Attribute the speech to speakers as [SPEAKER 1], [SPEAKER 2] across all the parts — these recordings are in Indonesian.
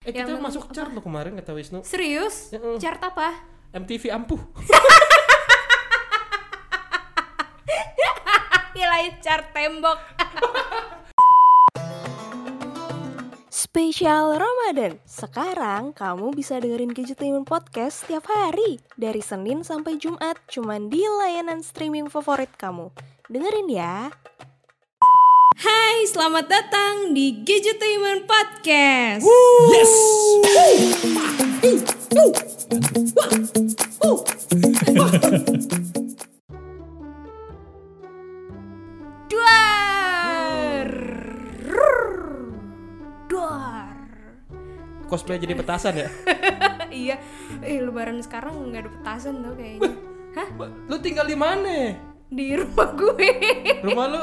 [SPEAKER 1] Eh
[SPEAKER 2] Yang
[SPEAKER 1] kita
[SPEAKER 2] men-
[SPEAKER 1] masuk chart loh kemarin kata Wisnu.
[SPEAKER 2] Serius?
[SPEAKER 1] Heeh.
[SPEAKER 2] Chart apa?
[SPEAKER 1] MTV ampuh.
[SPEAKER 2] Nilai chart tembok.
[SPEAKER 3] Spesial Ramadan. Sekarang kamu bisa dengerin Gadgetainment Podcast setiap hari dari Senin sampai Jumat cuman di layanan streaming favorit kamu. Dengerin ya.
[SPEAKER 2] Hai, selamat datang di Gadgetainment Podcast.
[SPEAKER 1] Yes.
[SPEAKER 2] Duar. Duar.
[SPEAKER 1] Cosplay jadi petasan ya.
[SPEAKER 2] iya, eh, lebaran sekarang nggak ada petasan tuh kayaknya. Hah?
[SPEAKER 1] Ba- Lu tinggal di mana?
[SPEAKER 2] Di rumah gue.
[SPEAKER 1] Rumah lu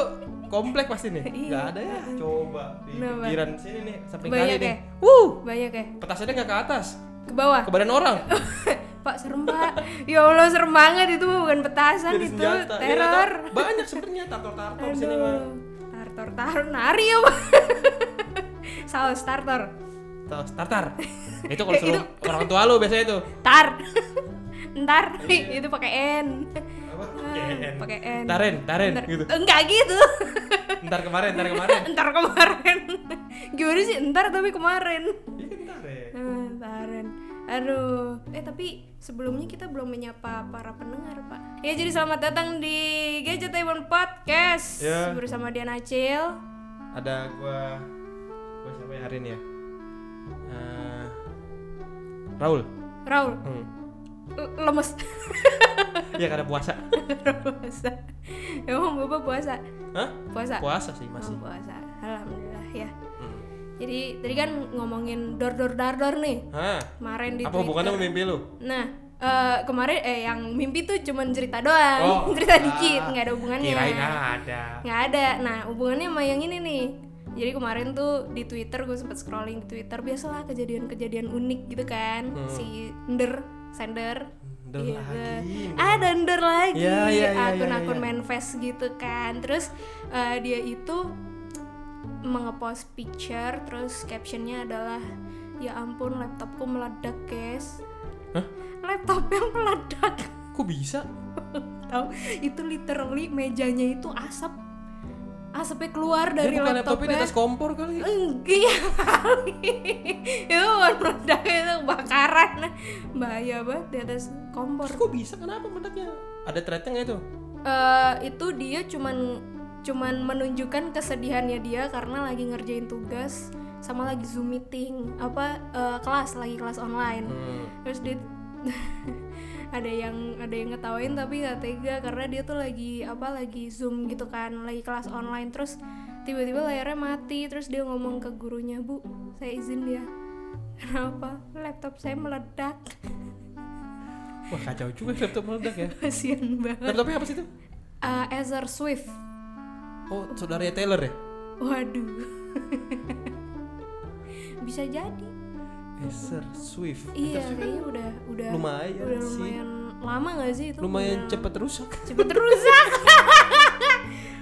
[SPEAKER 1] komplek pasti nih. Nggak ada ya. Coba di
[SPEAKER 2] Iya. Kenapa?
[SPEAKER 1] pinggiran sini nih, samping kali
[SPEAKER 2] Banyak
[SPEAKER 1] nih.
[SPEAKER 2] ya?
[SPEAKER 1] Wuh,
[SPEAKER 2] Banyak ya?
[SPEAKER 1] petasannya nggak ke atas,
[SPEAKER 2] Ke bawah.
[SPEAKER 1] ke badan orang.
[SPEAKER 2] Pak serem pak Ya Allah serem banget itu bukan petasan
[SPEAKER 1] Dari
[SPEAKER 2] Kan itu
[SPEAKER 1] senjata. Iya,
[SPEAKER 2] Teror
[SPEAKER 1] nggak tahu. Banyak sebenarnya tartor-tartor di sini mah.
[SPEAKER 2] Aduh Tartor tartor nari ya pak Saus tartor
[SPEAKER 1] Tos, tartar. Itu kalau
[SPEAKER 2] Eh,
[SPEAKER 1] suruh
[SPEAKER 2] itu-
[SPEAKER 1] orang tua lu biasanya itu.
[SPEAKER 2] Tar Ntar itu pakai N Ah,
[SPEAKER 1] Apa?
[SPEAKER 2] Pakai N
[SPEAKER 1] Taren, taren
[SPEAKER 2] Ntar-
[SPEAKER 1] gitu.
[SPEAKER 2] Enggak gitu
[SPEAKER 1] Ntar kemarin, ntar kemarin.
[SPEAKER 2] Ntar kemarin Gimana sih ntar tapi kemarin
[SPEAKER 1] Iya, ntar ya.
[SPEAKER 2] Eh, Taren Aduh, eh tapi sebelumnya kita belum menyapa para pendengar pak Ya jadi selamat datang di Gadget Taiwan Podcast
[SPEAKER 1] Ya.
[SPEAKER 2] Bersama Dian Acil
[SPEAKER 1] ada gua gua siapa ya hari ini ya Eh, Raul
[SPEAKER 2] Raul,
[SPEAKER 1] hmm.
[SPEAKER 2] l- lemes
[SPEAKER 1] iya karena puasa
[SPEAKER 2] Puasa Emang bapak puasa?
[SPEAKER 1] Hah?
[SPEAKER 2] Puasa?
[SPEAKER 1] puasa sih
[SPEAKER 2] Oh,
[SPEAKER 1] masih
[SPEAKER 2] puasa, alhamdulillah ya
[SPEAKER 1] Hmm.
[SPEAKER 2] Jadi tadi kan ngomongin dor-dor-dardor nih
[SPEAKER 1] Hah?
[SPEAKER 2] Kemarin di
[SPEAKER 1] apa
[SPEAKER 2] Twitter.
[SPEAKER 1] hubungannya sama mimpi lu
[SPEAKER 2] Nah, eh, kemarin eh yang mimpi tuh cuman cerita doang,
[SPEAKER 1] Oh,
[SPEAKER 2] cerita
[SPEAKER 1] ah,
[SPEAKER 2] dikit, nggak ada hubungannya.
[SPEAKER 1] kirain ada
[SPEAKER 2] nggak ada nah hubungannya sama yang ini nih jadi kemarin tuh di Twitter gue sempet scrolling di Twitter biasalah kejadian-kejadian unik gitu kan
[SPEAKER 1] Hmm.
[SPEAKER 2] si Ender Sender
[SPEAKER 1] Ender
[SPEAKER 2] Iya,
[SPEAKER 1] lagi,
[SPEAKER 2] the-
[SPEAKER 1] Ender.
[SPEAKER 2] ah ada Ender lagi
[SPEAKER 1] Ya, ya, ya,
[SPEAKER 2] akun-akun
[SPEAKER 1] ya, ya.
[SPEAKER 2] manifest gitu kan terus eh, dia itu mengepost picture terus captionnya adalah ya ampun laptopku meledak guys
[SPEAKER 1] Hah?
[SPEAKER 2] laptop yang meledak
[SPEAKER 1] kok bisa
[SPEAKER 2] tahu itu literally mejanya itu asap asapnya keluar
[SPEAKER 1] dia
[SPEAKER 2] dari
[SPEAKER 1] bukan laptopnya di
[SPEAKER 2] laptopnya
[SPEAKER 1] atas kompor kali
[SPEAKER 2] Iya kali Itu bukan produknya itu kebakaran Bahaya banget di atas kompor
[SPEAKER 1] Terus kok bisa kenapa meledaknya ada threadnya nggak itu
[SPEAKER 2] Eh, Itu dia cuman cuman menunjukkan kesedihannya dia karena lagi ngerjain tugas sama lagi zoom meeting apa eh, kelas lagi kelas online
[SPEAKER 1] hmm.
[SPEAKER 2] terus dia ada yang ada yang ngetawain tapi nggak tega karena dia tuh lagi apa lagi zoom gitu kan lagi kelas online terus tiba-tiba layarnya mati terus dia ngomong ke gurunya bu saya izin ya kenapa laptop saya meledak
[SPEAKER 1] wah kacau juga laptop meledak ya
[SPEAKER 2] kasian banget
[SPEAKER 1] laptopnya apa sih itu
[SPEAKER 2] Eh, Azar Swift
[SPEAKER 1] oh saudaranya Taylor ya
[SPEAKER 2] waduh bisa jadi
[SPEAKER 1] Acer Swift
[SPEAKER 2] iya
[SPEAKER 1] Acer Swift kan
[SPEAKER 2] kayaknya udah udah
[SPEAKER 1] lumayan
[SPEAKER 2] udah
[SPEAKER 1] sih.
[SPEAKER 2] lumayan lama nggak sih itu
[SPEAKER 1] lumayan
[SPEAKER 2] Udah
[SPEAKER 1] cepet rusak
[SPEAKER 2] cepet rusak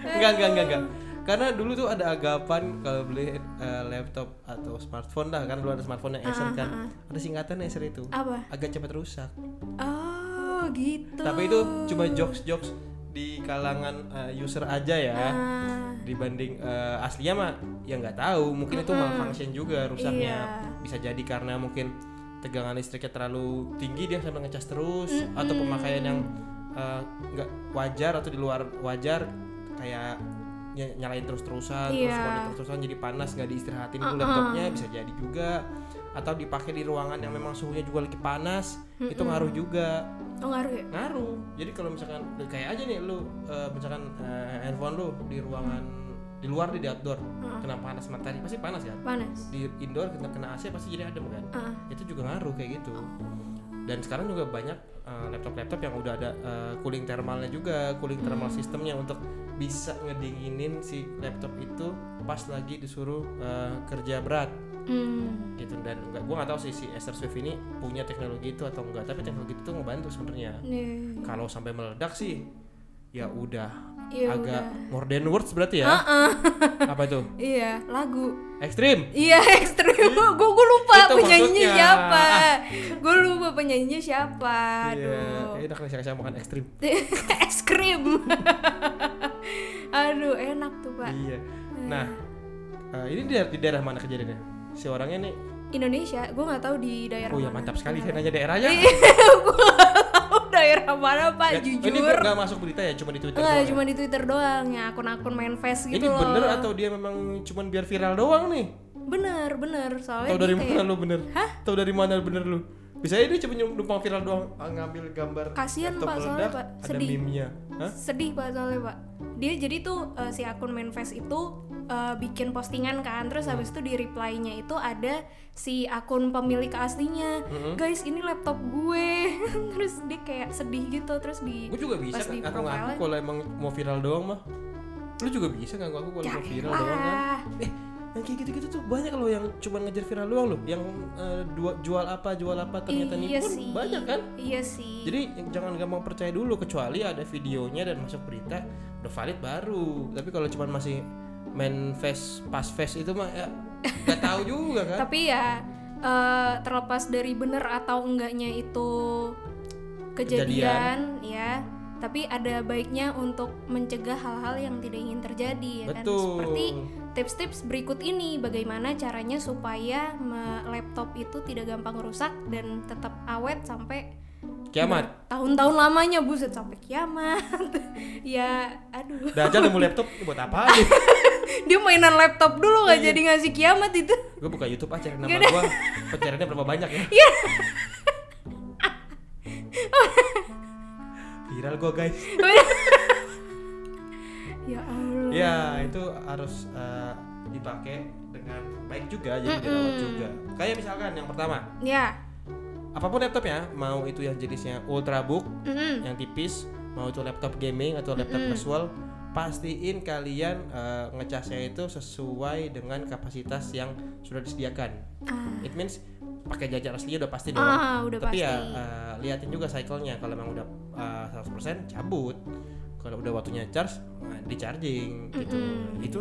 [SPEAKER 1] Enggak, enggak, enggak, enggak. Karena dulu tuh ada anggapan kalau beli eh, laptop atau smartphone lah kan dulu ada smartphone yang Acer kan. Ada singkatan Acer itu.
[SPEAKER 2] apa
[SPEAKER 1] Agak cepat rusak.
[SPEAKER 2] Oh gitu.
[SPEAKER 1] Tapi itu cuma jokes-jokes di kalangan eh, user aja ya.
[SPEAKER 2] Ah,
[SPEAKER 1] Dibanding eh, aslinya mah ya nggak tahu, mungkin itu malfunction juga rusaknya. Bisa jadi karena mungkin tegangan listriknya terlalu tinggi dia sampai ngecas terus atau pemakaian yang eh, nggak wajar atau di luar wajar kayak ny- nyalain terus-terusan terus
[SPEAKER 2] Iya.
[SPEAKER 1] monitor terus-terusan jadi panas nggak diistirahatin dulu laptopnya bisa jadi juga atau dipakai di ruangan yang memang suhunya juga lagi panas itu ngaruh juga
[SPEAKER 2] oh ngaruh ya?
[SPEAKER 1] ngaruh jadi kalau misalkan kayak aja nih lu eh, misalkan eh, handphone lu di ruangan di luar di, di outdoor kena panas matahari pasti panas kan
[SPEAKER 2] Panas.
[SPEAKER 1] di indoor kena kena AC pasti jadi adem kan
[SPEAKER 2] Ah.
[SPEAKER 1] itu juga ngaruh kayak gitu dan sekarang juga banyak eh, laptop-laptop yang udah ada eh, cooling thermalnya juga cooling thermal sistemnya untuk bisa ngedinginin si laptop itu pas lagi disuruh eh, kerja berat
[SPEAKER 2] Hmm.
[SPEAKER 1] gitu dan nggak gue nggak tahu sih si Acer Swift ini punya teknologi itu atau enggak tapi teknologi itu ngebantu sebenarnya
[SPEAKER 2] Nih.
[SPEAKER 1] kalau sampai meledak sih ya udah
[SPEAKER 2] Iya,
[SPEAKER 1] agak
[SPEAKER 2] udah.
[SPEAKER 1] more than words berarti ya apa tuh
[SPEAKER 2] Iya, lagu.
[SPEAKER 1] ekstrim
[SPEAKER 2] Iya ekstrim gue gue lupa
[SPEAKER 1] Hmm. Itu
[SPEAKER 2] penyanyinya
[SPEAKER 1] maksudnya. Ah,
[SPEAKER 2] siapa gue lupa penyanyinya siapa aduh
[SPEAKER 1] Iya, enak nih saya makan ekstrim
[SPEAKER 2] es krim aduh enak tuh pak
[SPEAKER 1] iya nah eh, ini di daerah, di daerah mana kejadiannya si orangnya nih
[SPEAKER 2] Indonesia gue nggak tahu di daerah
[SPEAKER 1] oh ya
[SPEAKER 2] mana. Iya,
[SPEAKER 1] mantap sekali saya nanya daerahnya
[SPEAKER 2] gue nggak tahu daerah mana pak
[SPEAKER 1] Nggak-
[SPEAKER 2] jujur
[SPEAKER 1] Ya, ini nggak masuk berita ya cuma di twitter
[SPEAKER 2] Enggak,
[SPEAKER 1] doang
[SPEAKER 2] cuma di Twitter doang ya akun-akun main face
[SPEAKER 1] ini
[SPEAKER 2] gitu loh.
[SPEAKER 1] bener atau dia memang cuma biar viral doang nih
[SPEAKER 2] Bener, bener. Soalnya
[SPEAKER 1] Tahu dari
[SPEAKER 2] dia
[SPEAKER 1] mana
[SPEAKER 2] kayak,
[SPEAKER 1] lu bener? Hah? Tahu dari mana bener lu? Bisa ini cuma nyum- numpang viral doang ah, ngambil gambar
[SPEAKER 2] Kasian,
[SPEAKER 1] laptop
[SPEAKER 2] Pak, soalnya,
[SPEAKER 1] meledak,
[SPEAKER 2] Pak.
[SPEAKER 1] ada
[SPEAKER 2] Sedih.
[SPEAKER 1] meme-nya. Hah?
[SPEAKER 2] sedih pak soalnya pak dia jadi tuh eh, si akun Manfest itu eh, bikin postingan kan terus habis itu di reply-nya itu ada si akun pemilik aslinya
[SPEAKER 1] Mm-hmm.
[SPEAKER 2] guys ini laptop gue terus dia kayak sedih gitu terus di
[SPEAKER 1] Gue juga bisa kan,
[SPEAKER 2] pas di
[SPEAKER 1] ngaku ngaku
[SPEAKER 2] profile-nya,
[SPEAKER 1] kalau emang mau viral doang mah. Lu juga bisa kan ngaku ngaku
[SPEAKER 2] Ya,
[SPEAKER 1] kalau mau viral doang kan?
[SPEAKER 2] "Yaelah."
[SPEAKER 1] Eh, yang kayak gitu-gitu tuh banyak loh yang cuma ngejar viral doang loh. Yang eh, dua- jual apa jual apa ternyata nipu
[SPEAKER 2] iya
[SPEAKER 1] pun
[SPEAKER 2] sih
[SPEAKER 1] banyak kan?
[SPEAKER 2] iya sih
[SPEAKER 1] Jadi jangan gampang percaya dulu kecuali ada videonya dan masuk berita udah valid baru. Tapi kalau cuma masih main face pas face itu mah ya nggak tahu juga kan?
[SPEAKER 2] tapi ya eh, terlepas dari bener atau enggaknya itu kejadian, ya tapi ada baiknya untuk mencegah hal-hal yang tidak ingin terjadi ya kan
[SPEAKER 1] Betul.
[SPEAKER 2] seperti tips-tips berikut ini bagaimana caranya supaya me- laptop itu tidak gampang rusak dan tetap awet sampai
[SPEAKER 1] Kiamat.
[SPEAKER 2] tahun-tahun lamanya buset sampai kiamat ya aduh
[SPEAKER 1] Dajjal nemu laptop ini buat apa nih?
[SPEAKER 2] dia mainan laptop
[SPEAKER 1] Iya,
[SPEAKER 2] dulu nggak jadi ngasih kiamat itu
[SPEAKER 1] gue buka YouTube ah cari nama gue pencariannya berapa banyak ya? Viral gue guys.
[SPEAKER 2] ya allah
[SPEAKER 1] Ya itu harus eh, dipakai dengan baik juga jadi dirawat juga. Kayak misalkan yang pertama,
[SPEAKER 2] ya
[SPEAKER 1] apapun laptopnya mau itu yang jenisnya ultrabook
[SPEAKER 2] Mm-mm.
[SPEAKER 1] yang tipis mau itu laptop gaming atau laptop casual pastiin kalian eh, ngecasnya itu sesuai dengan kapasitas yang sudah disediakan it means pakai jajar aslinya udah pasti dong
[SPEAKER 2] Ah,
[SPEAKER 1] Gitu.
[SPEAKER 2] udah
[SPEAKER 1] tapi ya
[SPEAKER 2] pasti.
[SPEAKER 1] eh, liatin juga cycle-nya kalau memang udah eh, 100% cabut kalau udah waktunya charge nah, di charging gitu itu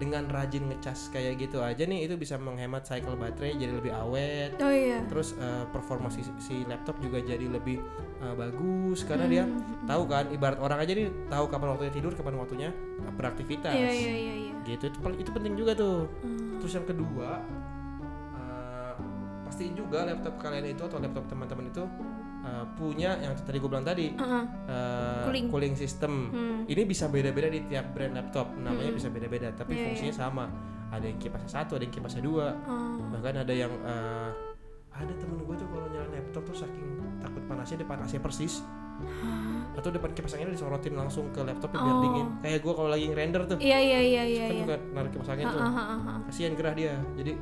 [SPEAKER 1] dengan rajin ngecas kayak gitu aja nih itu bisa menghemat cycle baterai jadi lebih awet
[SPEAKER 2] oh iya
[SPEAKER 1] terus eh, performa si, si laptop juga jadi lebih eh, bagus karena dia
[SPEAKER 2] Mm-hmm.
[SPEAKER 1] tahu kan ibarat orang aja nih tahu kapan waktunya tidur kapan waktunya eh, beraktivitas
[SPEAKER 2] Iya iya iya iya.
[SPEAKER 1] gitu itu, pen- itu penting juga tuh
[SPEAKER 2] Hmm.
[SPEAKER 1] terus yang kedua eh, pastiin juga laptop kalian itu atau laptop teman-teman itu eh, punya yang tadi gue bilang tadi eh,
[SPEAKER 2] Heeh. Uh-huh. Cooling.
[SPEAKER 1] cooling system
[SPEAKER 2] Hmm.
[SPEAKER 1] ini bisa beda-beda di tiap brand laptop namanya
[SPEAKER 2] Mm-mm.
[SPEAKER 1] bisa beda-beda tapi
[SPEAKER 2] Iya,
[SPEAKER 1] fungsinya sama ada yang kipasnya satu ada yang kipasnya dua
[SPEAKER 2] Oh.
[SPEAKER 1] bahkan ada yang eh, ada temen gue tuh kalau nyalain laptop tuh saking takut panasnya depan AC persis atau depan kipas anginnya disorotin langsung ke laptopnya biar
[SPEAKER 2] Oh.
[SPEAKER 1] dingin kayak gue kalau lagi render tuh
[SPEAKER 2] Iya iya iya iya.
[SPEAKER 1] kan
[SPEAKER 2] iya.
[SPEAKER 1] juga narik kipas angin tuh
[SPEAKER 2] Heeh, heeh, heeh.
[SPEAKER 1] kasihan gerah dia jadi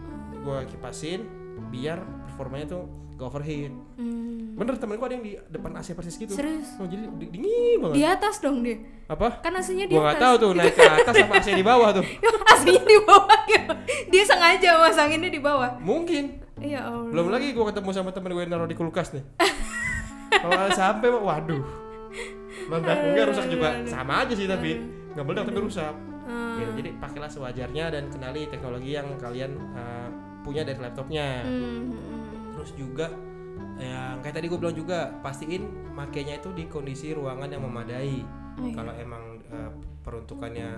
[SPEAKER 1] gue kipasin biar performanya tuh gak overheat
[SPEAKER 2] Hmm.
[SPEAKER 1] bener temen gue ada yang di depan AC persis gitu
[SPEAKER 2] Serius?
[SPEAKER 1] Oh, jadi di- dingin banget
[SPEAKER 2] Di atas dong dia.
[SPEAKER 1] apa
[SPEAKER 2] Kan aslinya di
[SPEAKER 1] gue nggak
[SPEAKER 2] atas.
[SPEAKER 1] tahu tuh naik ke atas sama AC di bawah tuh
[SPEAKER 2] aslinya di bawah. ya. Dia sengaja masanginnya di bawah.
[SPEAKER 1] mungkin
[SPEAKER 2] Ya Allah.
[SPEAKER 1] belum lagi gue ketemu sama temen gue yang naruh di kulkas nih kalau sampai waduh meledak enggak rusak juga sama aja sih tapi nggak meledak tapi rusak Gitu, jadi pakailah sewajarnya dan kenali teknologi yang kalian eh, punya dari laptopnya
[SPEAKER 2] Hmm, hmm.
[SPEAKER 1] terus juga yang kayak tadi gue bilang juga pastiin makainya itu di kondisi ruangan yang memadai
[SPEAKER 2] Iya.
[SPEAKER 1] kalau emang eh, peruntukannya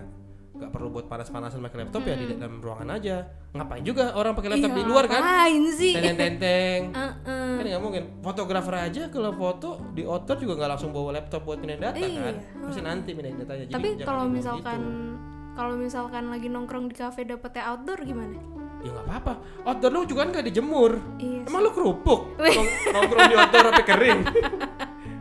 [SPEAKER 1] nggak perlu buat panas-panasan pakai laptop ya di dalam ruangan aja ngapain juga orang pakai laptop di
[SPEAKER 2] Hmm. Iya,
[SPEAKER 1] luar kan
[SPEAKER 2] Ngapain Uh-uh. sih?
[SPEAKER 1] tenteng-tenteng
[SPEAKER 2] Heeh.
[SPEAKER 1] kan nggak mungkin fotografer aja kalau foto di outdoor juga nggak langsung bawa laptop buat pindahin data
[SPEAKER 2] Iya.
[SPEAKER 1] kan pasti nanti pindahin datanya Jadi
[SPEAKER 2] Tapi
[SPEAKER 1] jangan
[SPEAKER 2] kalau
[SPEAKER 1] dibawa
[SPEAKER 2] misalkan
[SPEAKER 1] gitu.
[SPEAKER 2] kalau misalkan lagi nongkrong di kafe dapetnya outdoor gimana?
[SPEAKER 1] ya nggak apa-apa outdoor lu juga kan nggak dijemur
[SPEAKER 2] Iya.
[SPEAKER 1] emang lu kerupuk Nong- nongkrong di outdoor sampai kering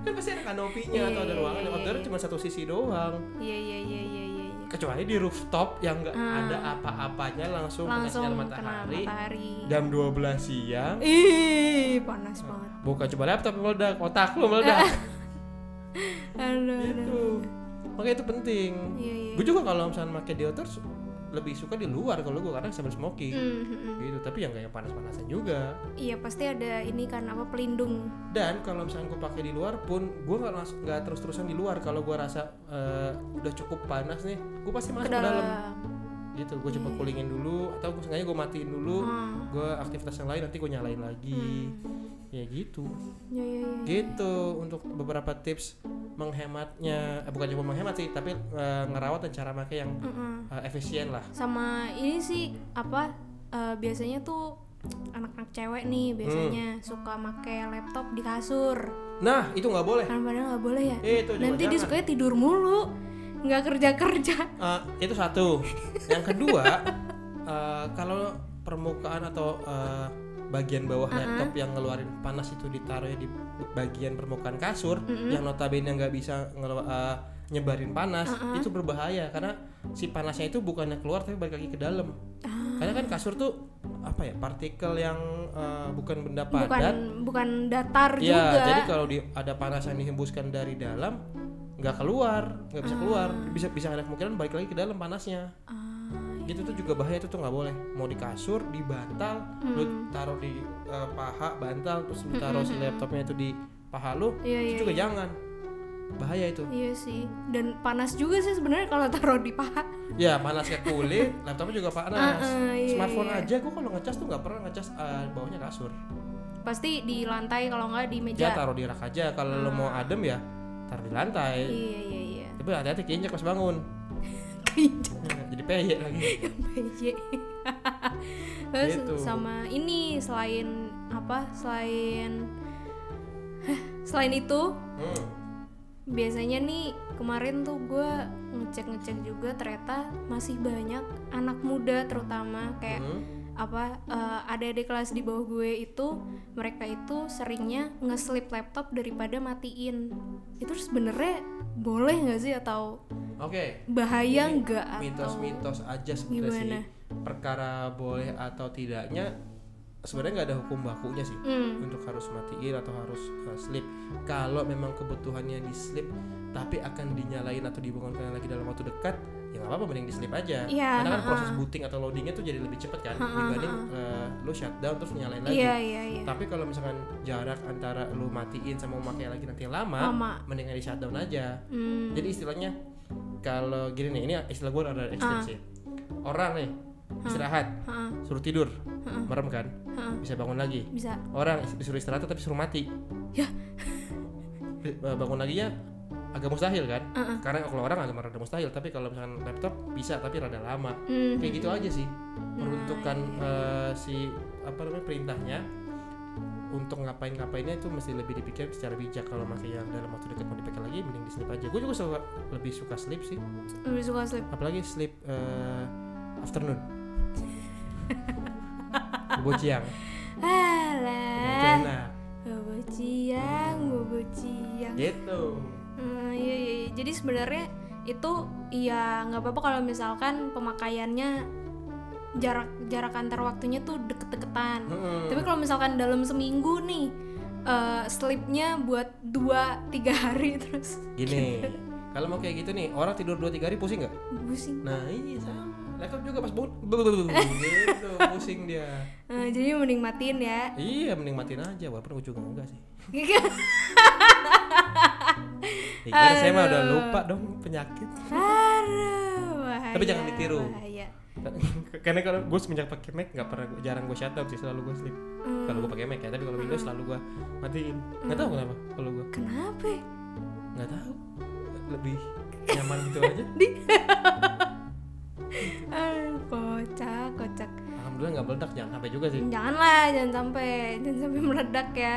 [SPEAKER 1] kan pasti ada kanopinya atau ada ruangan yang outdoor cuma satu sisi doang
[SPEAKER 2] Iya iya iya iya iya. iya.
[SPEAKER 1] kecuali di rooftop yang nggak ada apa-apanya langsung, kena
[SPEAKER 2] Ah. Langsung
[SPEAKER 1] sinar
[SPEAKER 2] kena
[SPEAKER 1] matahari
[SPEAKER 2] matahari.
[SPEAKER 1] jam 12 siang
[SPEAKER 2] Ih, panas banget.
[SPEAKER 1] bukan coba laptop meledak otak lu meledak
[SPEAKER 2] Aduh. aduh.
[SPEAKER 1] Tuh. makanya itu penting
[SPEAKER 2] Iya, iya.
[SPEAKER 1] gue juga kalau misalnya pakai di outdoor lebih suka di luar kalau gue karena sambil smoking
[SPEAKER 2] Hmm, hmm, hmm.
[SPEAKER 1] gitu tapi yang kayak panas-panasan juga
[SPEAKER 2] Iya pasti ada ini kan apa pelindung.
[SPEAKER 1] dan kalau misalnya gue pakai di luar pun gue nggak langsung nggak terus-terusan di luar kalau gue rasa eh, udah cukup panas nih gue pasti masuk ke dalam gitu gue coba kulingin dulu atau gue sengaja gue matiin dulu
[SPEAKER 2] Hmm.
[SPEAKER 1] gue aktivitas yang lain nanti gue nyalain lagi ya gitu
[SPEAKER 2] Ya ya ya.
[SPEAKER 1] gitu untuk beberapa tips menghematnya eh, bukan cuma menghemat sih tapi eh, ngerawat dan cara pakai yang
[SPEAKER 2] Mm-mm.
[SPEAKER 1] eh, efisien lah
[SPEAKER 2] Sama ini sih apa eh, biasanya tuh anak-anak cewek nih
[SPEAKER 1] Hmm.
[SPEAKER 2] biasanya suka make laptop di kasur.
[SPEAKER 1] nah itu nggak boleh
[SPEAKER 2] Kan padahal nggak boleh ya.
[SPEAKER 1] Eh, itu juga
[SPEAKER 2] Nanti dia
[SPEAKER 1] jangan.
[SPEAKER 2] sukanya tidur mulu, nggak kerja kerja.
[SPEAKER 1] Eh, itu satu yang kedua eh, kalau permukaan atau eh, bagian bawah laptop yang ngeluarin panas itu ditaruhnya di bagian permukaan kasur yang notabene nggak bisa ngelu- eh, nyebarin panas itu berbahaya karena si panasnya itu bukannya keluar tapi balik lagi ke dalam karena kan kasur tuh apa ya partikel yang eh, bukan benda
[SPEAKER 2] Bukan
[SPEAKER 1] padat
[SPEAKER 2] bukan datar
[SPEAKER 1] ya
[SPEAKER 2] juga.
[SPEAKER 1] jadi kalau di, ada panas yang dihembuskan dari dalam nggak keluar nggak bisa keluar bisa bisa ada kemungkinan balik lagi ke dalam panasnya
[SPEAKER 2] Ah,
[SPEAKER 1] gitu tuh juga bahaya itu tuh nggak boleh mau di kasur di bantal lu
[SPEAKER 2] Hmm.
[SPEAKER 1] taruh di eh, paha bantal terus lu taruh si laptopnya itu di paha lu
[SPEAKER 2] Iya,
[SPEAKER 1] itu
[SPEAKER 2] iya,
[SPEAKER 1] juga jangan bahaya itu
[SPEAKER 2] iya sih. Dan panas juga sih sebenarnya kalau taruh di paha.
[SPEAKER 1] ya panas ke kulit laptopnya juga panas
[SPEAKER 2] Ah, ah, iya,
[SPEAKER 1] smartphone
[SPEAKER 2] iya.
[SPEAKER 1] aja gua kalau ngecas tuh nggak pernah ngecas eh, bawahnya kasur
[SPEAKER 2] Pasti di lantai kalau nggak di meja.
[SPEAKER 1] ya taruh di rak aja kalau
[SPEAKER 2] Ah.
[SPEAKER 1] lu mau adem ya taruh di lantai
[SPEAKER 2] Iya iya iya.
[SPEAKER 1] tapi hati-hati keinjak pas bangun
[SPEAKER 2] Keinjak
[SPEAKER 1] jadi peyek lagi
[SPEAKER 2] meja. Terus
[SPEAKER 1] Gitu.
[SPEAKER 2] sama ini selain apa? Selain Hah, selain itu
[SPEAKER 1] Hmm.
[SPEAKER 2] biasanya nih kemarin tuh gue ngecek-ngecek juga ternyata masih banyak anak muda terutama kayak
[SPEAKER 1] Hmm.
[SPEAKER 2] apa eh, adik-adik kelas di bawah gue itu mereka itu seringnya nge-sleep laptop daripada matiin itu sebenarnya boleh nggak sih atau
[SPEAKER 1] oke
[SPEAKER 2] bahaya
[SPEAKER 1] Ini
[SPEAKER 2] nggak atau
[SPEAKER 1] mitos-mitos aja sebenarnya sih
[SPEAKER 2] Gimana?
[SPEAKER 1] perkara boleh atau tidaknya sebenarnya nggak ada hukum bakunya sih
[SPEAKER 2] Hmm,
[SPEAKER 1] untuk harus matiin atau harus uh, sleep kalau memang kebutuhannya di sleep tapi akan dinyalain atau dibangunkan lagi dalam waktu dekat ya nggak apa-apa mending di sleep aja
[SPEAKER 2] Iya,
[SPEAKER 1] karena kan
[SPEAKER 2] ha-ha.
[SPEAKER 1] proses booting atau loadingnya tuh jadi lebih cepat kan dibanding uh, lo shutdown terus nyalain lagi
[SPEAKER 2] iya iya iya
[SPEAKER 1] tapi kalau misalkan jarak antara lu matiin sama memakai lagi nanti lama
[SPEAKER 2] lama
[SPEAKER 1] mendingan di shutdown aja
[SPEAKER 2] Hmm,
[SPEAKER 1] jadi istilahnya kalau gini nih, ini istilah gue ada
[SPEAKER 2] Ah.
[SPEAKER 1] ekstrim sih. Orang nih istirahat,
[SPEAKER 2] ha-ha,
[SPEAKER 1] suruh tidur,
[SPEAKER 2] Ah.
[SPEAKER 1] merem kan,
[SPEAKER 2] ha-ha.
[SPEAKER 1] bisa bangun lagi.
[SPEAKER 2] bisa
[SPEAKER 1] Orang is- disuruh istirahat tapi suruh mati.
[SPEAKER 2] Ya.
[SPEAKER 1] Bi- eh, bangun laginya agak mustahil kan?
[SPEAKER 2] Ah,
[SPEAKER 1] Karena kalau orang agak rada mustahil, tapi kalau misalkan laptop bisa tapi rada lama.
[SPEAKER 2] Hmm,
[SPEAKER 1] Kayak gitu aja sih. Peruntukan eh, si apa namanya perintahnya untuk ngapain-ngapainnya itu mesti lebih dipikir secara bijak kalau masih yang dalam waktu dekat mau dipakai lagi mending di sleep aja gue juga suka lebih suka sleep sih
[SPEAKER 2] lebih suka sleep
[SPEAKER 1] apalagi sleep eh, afternoon bobo siang Nah, itu
[SPEAKER 2] alah
[SPEAKER 1] enak
[SPEAKER 2] bobo ciang bobo ciang
[SPEAKER 1] gitu
[SPEAKER 2] Hmm, iya, iya, iya. Jadi sebenarnya itu ya nggak apa-apa kalau misalkan pemakaiannya jarak jarak antar waktunya tuh deket-deketan.
[SPEAKER 1] Mm-mm.
[SPEAKER 2] Tapi kalau misalkan dalam seminggu nih eh, sleepnya buat 2 tiga hari terus
[SPEAKER 1] gini kalau mau kayak gitu nih orang tidur 2-3 hari pusing nggak
[SPEAKER 2] pusing.
[SPEAKER 1] nah iya sama laptop juga pas bangun bubububub, gitu pusing dia
[SPEAKER 2] Eh, jadi mending matiin ya. Iya kan?
[SPEAKER 1] iya mending matiin aja walaupun gue juga enggak sih Ya, gimana, saya mah udah lupa dong penyakit
[SPEAKER 2] Aduh, bahaya,
[SPEAKER 1] Tapi jangan ditiru.
[SPEAKER 2] bahaya.
[SPEAKER 1] karena kalau gue semenjak pakai Mac nggak pernah jarang gue shutdown sih selalu gue sleep
[SPEAKER 2] Hmm.
[SPEAKER 1] kalau gue pakai Mac ya tapi kalau Windows selalu gue matiin nggak tahu kenapa kalau gue
[SPEAKER 2] Kenapa? ya?
[SPEAKER 1] nggak tahu lebih nyaman gitu aja
[SPEAKER 2] Aduh, kocak, kocak.
[SPEAKER 1] alhamdulillah nggak meledak jangan sampai juga sih
[SPEAKER 2] janganlah jangan sampai jangan sampai meledak ya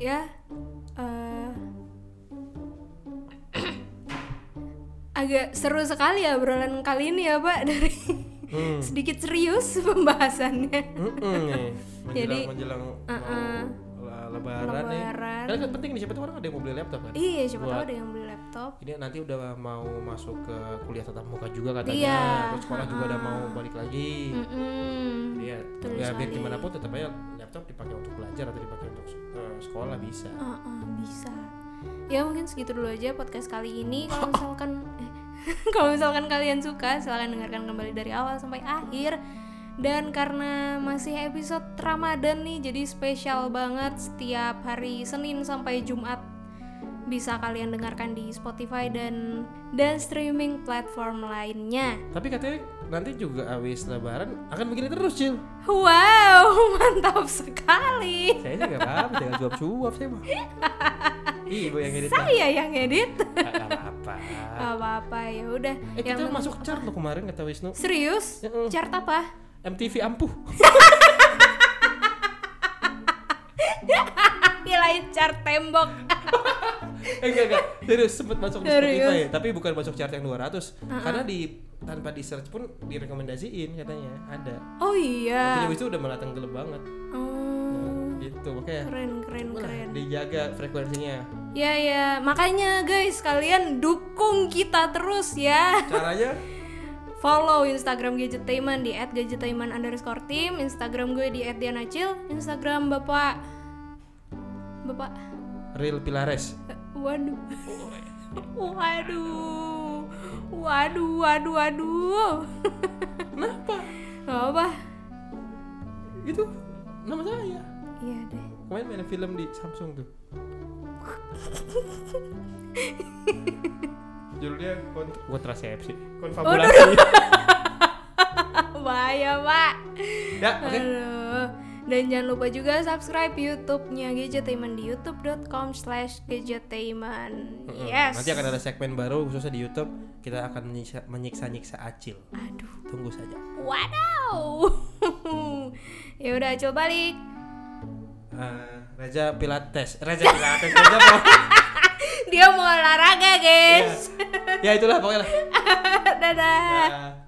[SPEAKER 2] ya eh, agak seru sekali ya obrolan kali ini ya pak dari
[SPEAKER 1] hmm.
[SPEAKER 2] sedikit serius pembahasannya
[SPEAKER 1] Mm-mm nih. menjelang
[SPEAKER 2] Jadi,
[SPEAKER 1] menjelang mau
[SPEAKER 2] uh-uh.
[SPEAKER 1] la- lebaran, nih
[SPEAKER 2] Lebaran.
[SPEAKER 1] karena kan penting nih siapa tuh orang ada yang mau beli laptop kan
[SPEAKER 2] iya siapa tahu
[SPEAKER 1] Buat-
[SPEAKER 2] ada yang beli laptop
[SPEAKER 1] ini nanti udah mau masuk ke kuliah tatap muka juga katanya
[SPEAKER 2] Iya,
[SPEAKER 1] terus sekolah juga udah mau balik lagi
[SPEAKER 2] Mm-mm.
[SPEAKER 1] Iya,
[SPEAKER 2] Betul
[SPEAKER 1] ya biar
[SPEAKER 2] sekali.
[SPEAKER 1] gimana pun tetap aja laptop dipakai untuk belajar atau dipakai untuk eh, sekolah bisa.
[SPEAKER 2] Uh-uh, bisa ya mungkin segitu dulu aja podcast kali ini kalau misalkan eh, Kalau misalkan kalian suka, silahkan dengarkan kembali dari awal sampai akhir. Dan karena masih episode Ramadan nih, jadi spesial banget setiap hari Senin sampai Jumat bisa kalian dengarkan di Spotify dan dan streaming platform lainnya.
[SPEAKER 1] Tapi katanya nanti juga habis lebaran akan begini terus, Cil.
[SPEAKER 2] Wow, mantap sekali.
[SPEAKER 1] Saya sih nggak paham, jangan cuap-cuap saya mah. Ih, Ibu Iya, yang edit. kan?
[SPEAKER 2] Saya yang edit.
[SPEAKER 1] Nggak apa-apa.
[SPEAKER 2] Gak apa-apa ya udah.
[SPEAKER 1] Eh, kita
[SPEAKER 2] Yang-
[SPEAKER 1] masuk chart loh kemarin kata Wisnu.
[SPEAKER 2] serius?
[SPEAKER 1] Heeh.
[SPEAKER 2] Chart apa?
[SPEAKER 1] MTV ampuh.
[SPEAKER 2] Nilai chart tembok.
[SPEAKER 1] eh, enggak, enggak. Serius, sempet masuk di Spotify. ya,
[SPEAKER 2] Serius?
[SPEAKER 1] Tapi bukan masuk chart yang 200. Karena di tanpa di search pun direkomendasiin katanya. Ada.
[SPEAKER 2] Oh
[SPEAKER 1] Jadi
[SPEAKER 2] iya.
[SPEAKER 1] Wisnu udah melatang gelap banget.
[SPEAKER 2] Oh,
[SPEAKER 1] Gitu, makanya
[SPEAKER 2] keren keren keren.
[SPEAKER 1] dijaga frekuensinya.
[SPEAKER 2] Ya ya, makanya guys kalian dukung kita terus ya.
[SPEAKER 1] Caranya
[SPEAKER 2] Follow Instagram Gadgetainment di @gadgetainment underscore team, Instagram gue di @dianacil, Instagram bapak bapak
[SPEAKER 1] real pilares.
[SPEAKER 2] Waduh. Waduh. Waduh, waduh, waduh.
[SPEAKER 1] Kenapa?
[SPEAKER 2] Gak apa.
[SPEAKER 1] Itu nama saya.
[SPEAKER 2] Iya deh.
[SPEAKER 1] Kemarin main film di Samsung tuh. Judulnya kont kontrasepsi. Konfabulasi.
[SPEAKER 2] Bahaya, Pak.
[SPEAKER 1] ya, oke.
[SPEAKER 2] Aduh. Dan jangan lupa juga subscribe YouTube-nya Gadgetainment di youtube.com slash gadgetainment. Yes.
[SPEAKER 1] Nanti akan ada segmen baru khususnya di YouTube kita akan menyiksa- menyiksa-nyiksa Acil.
[SPEAKER 2] Aduh.
[SPEAKER 1] Tunggu saja.
[SPEAKER 2] Waduh. ya udah, coba balik.
[SPEAKER 1] Eh, Raja Pilates. Raja Pilates. Raja mau.
[SPEAKER 2] Dia mau olahraga, guys.
[SPEAKER 1] ya itulah ya pokoknya. lah.
[SPEAKER 2] Dadah.
[SPEAKER 1] Ya.